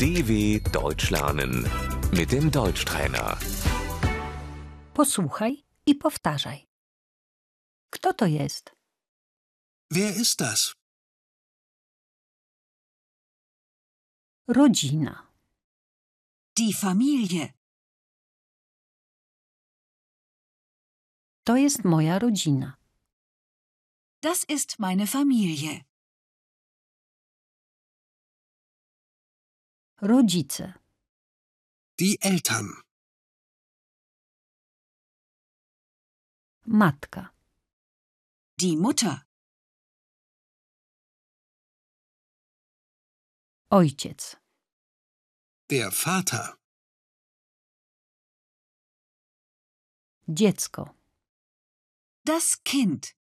DW Deutsch lernen mit dem Deutschtrainer. Posłuchaj i powtarzaj. Kto to jest? Wer ist das? Rodzina. Die Familie. To jest moja rodzina. Das ist meine Familie. Rodzice. Die Eltern. Matka. Die Mutter. Ojciec. Der Vater. Dziecko. Das Kind.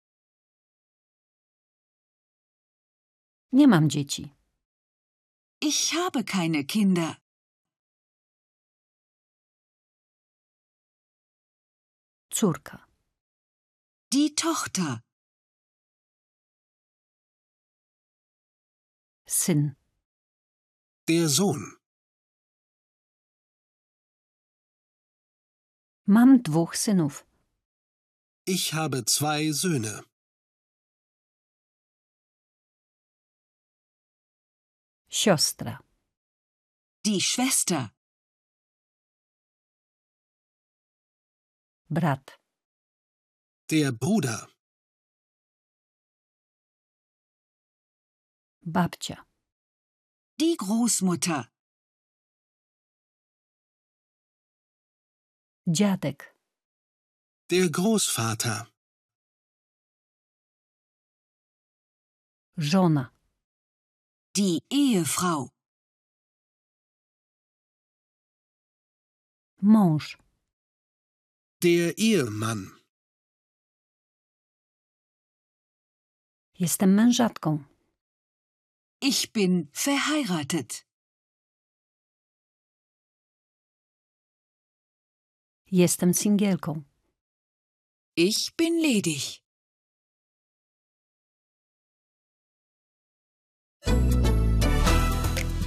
Nie mam dzieci. Ich habe keine Kinder. Córka. Die Tochter. Syn. Der Sohn. Mam dwóch synów. Ich habe zwei Söhne. Siostra. Die Schwester. Brat. Der Bruder. Babcia. Die Großmutter. Dziadek. Der Großvater. Żona. Die Ehefrau. Mąż. Der Ehemann. Jestem mężatką. Ich bin verheiratet. Jestem singielką. Ich bin ledig.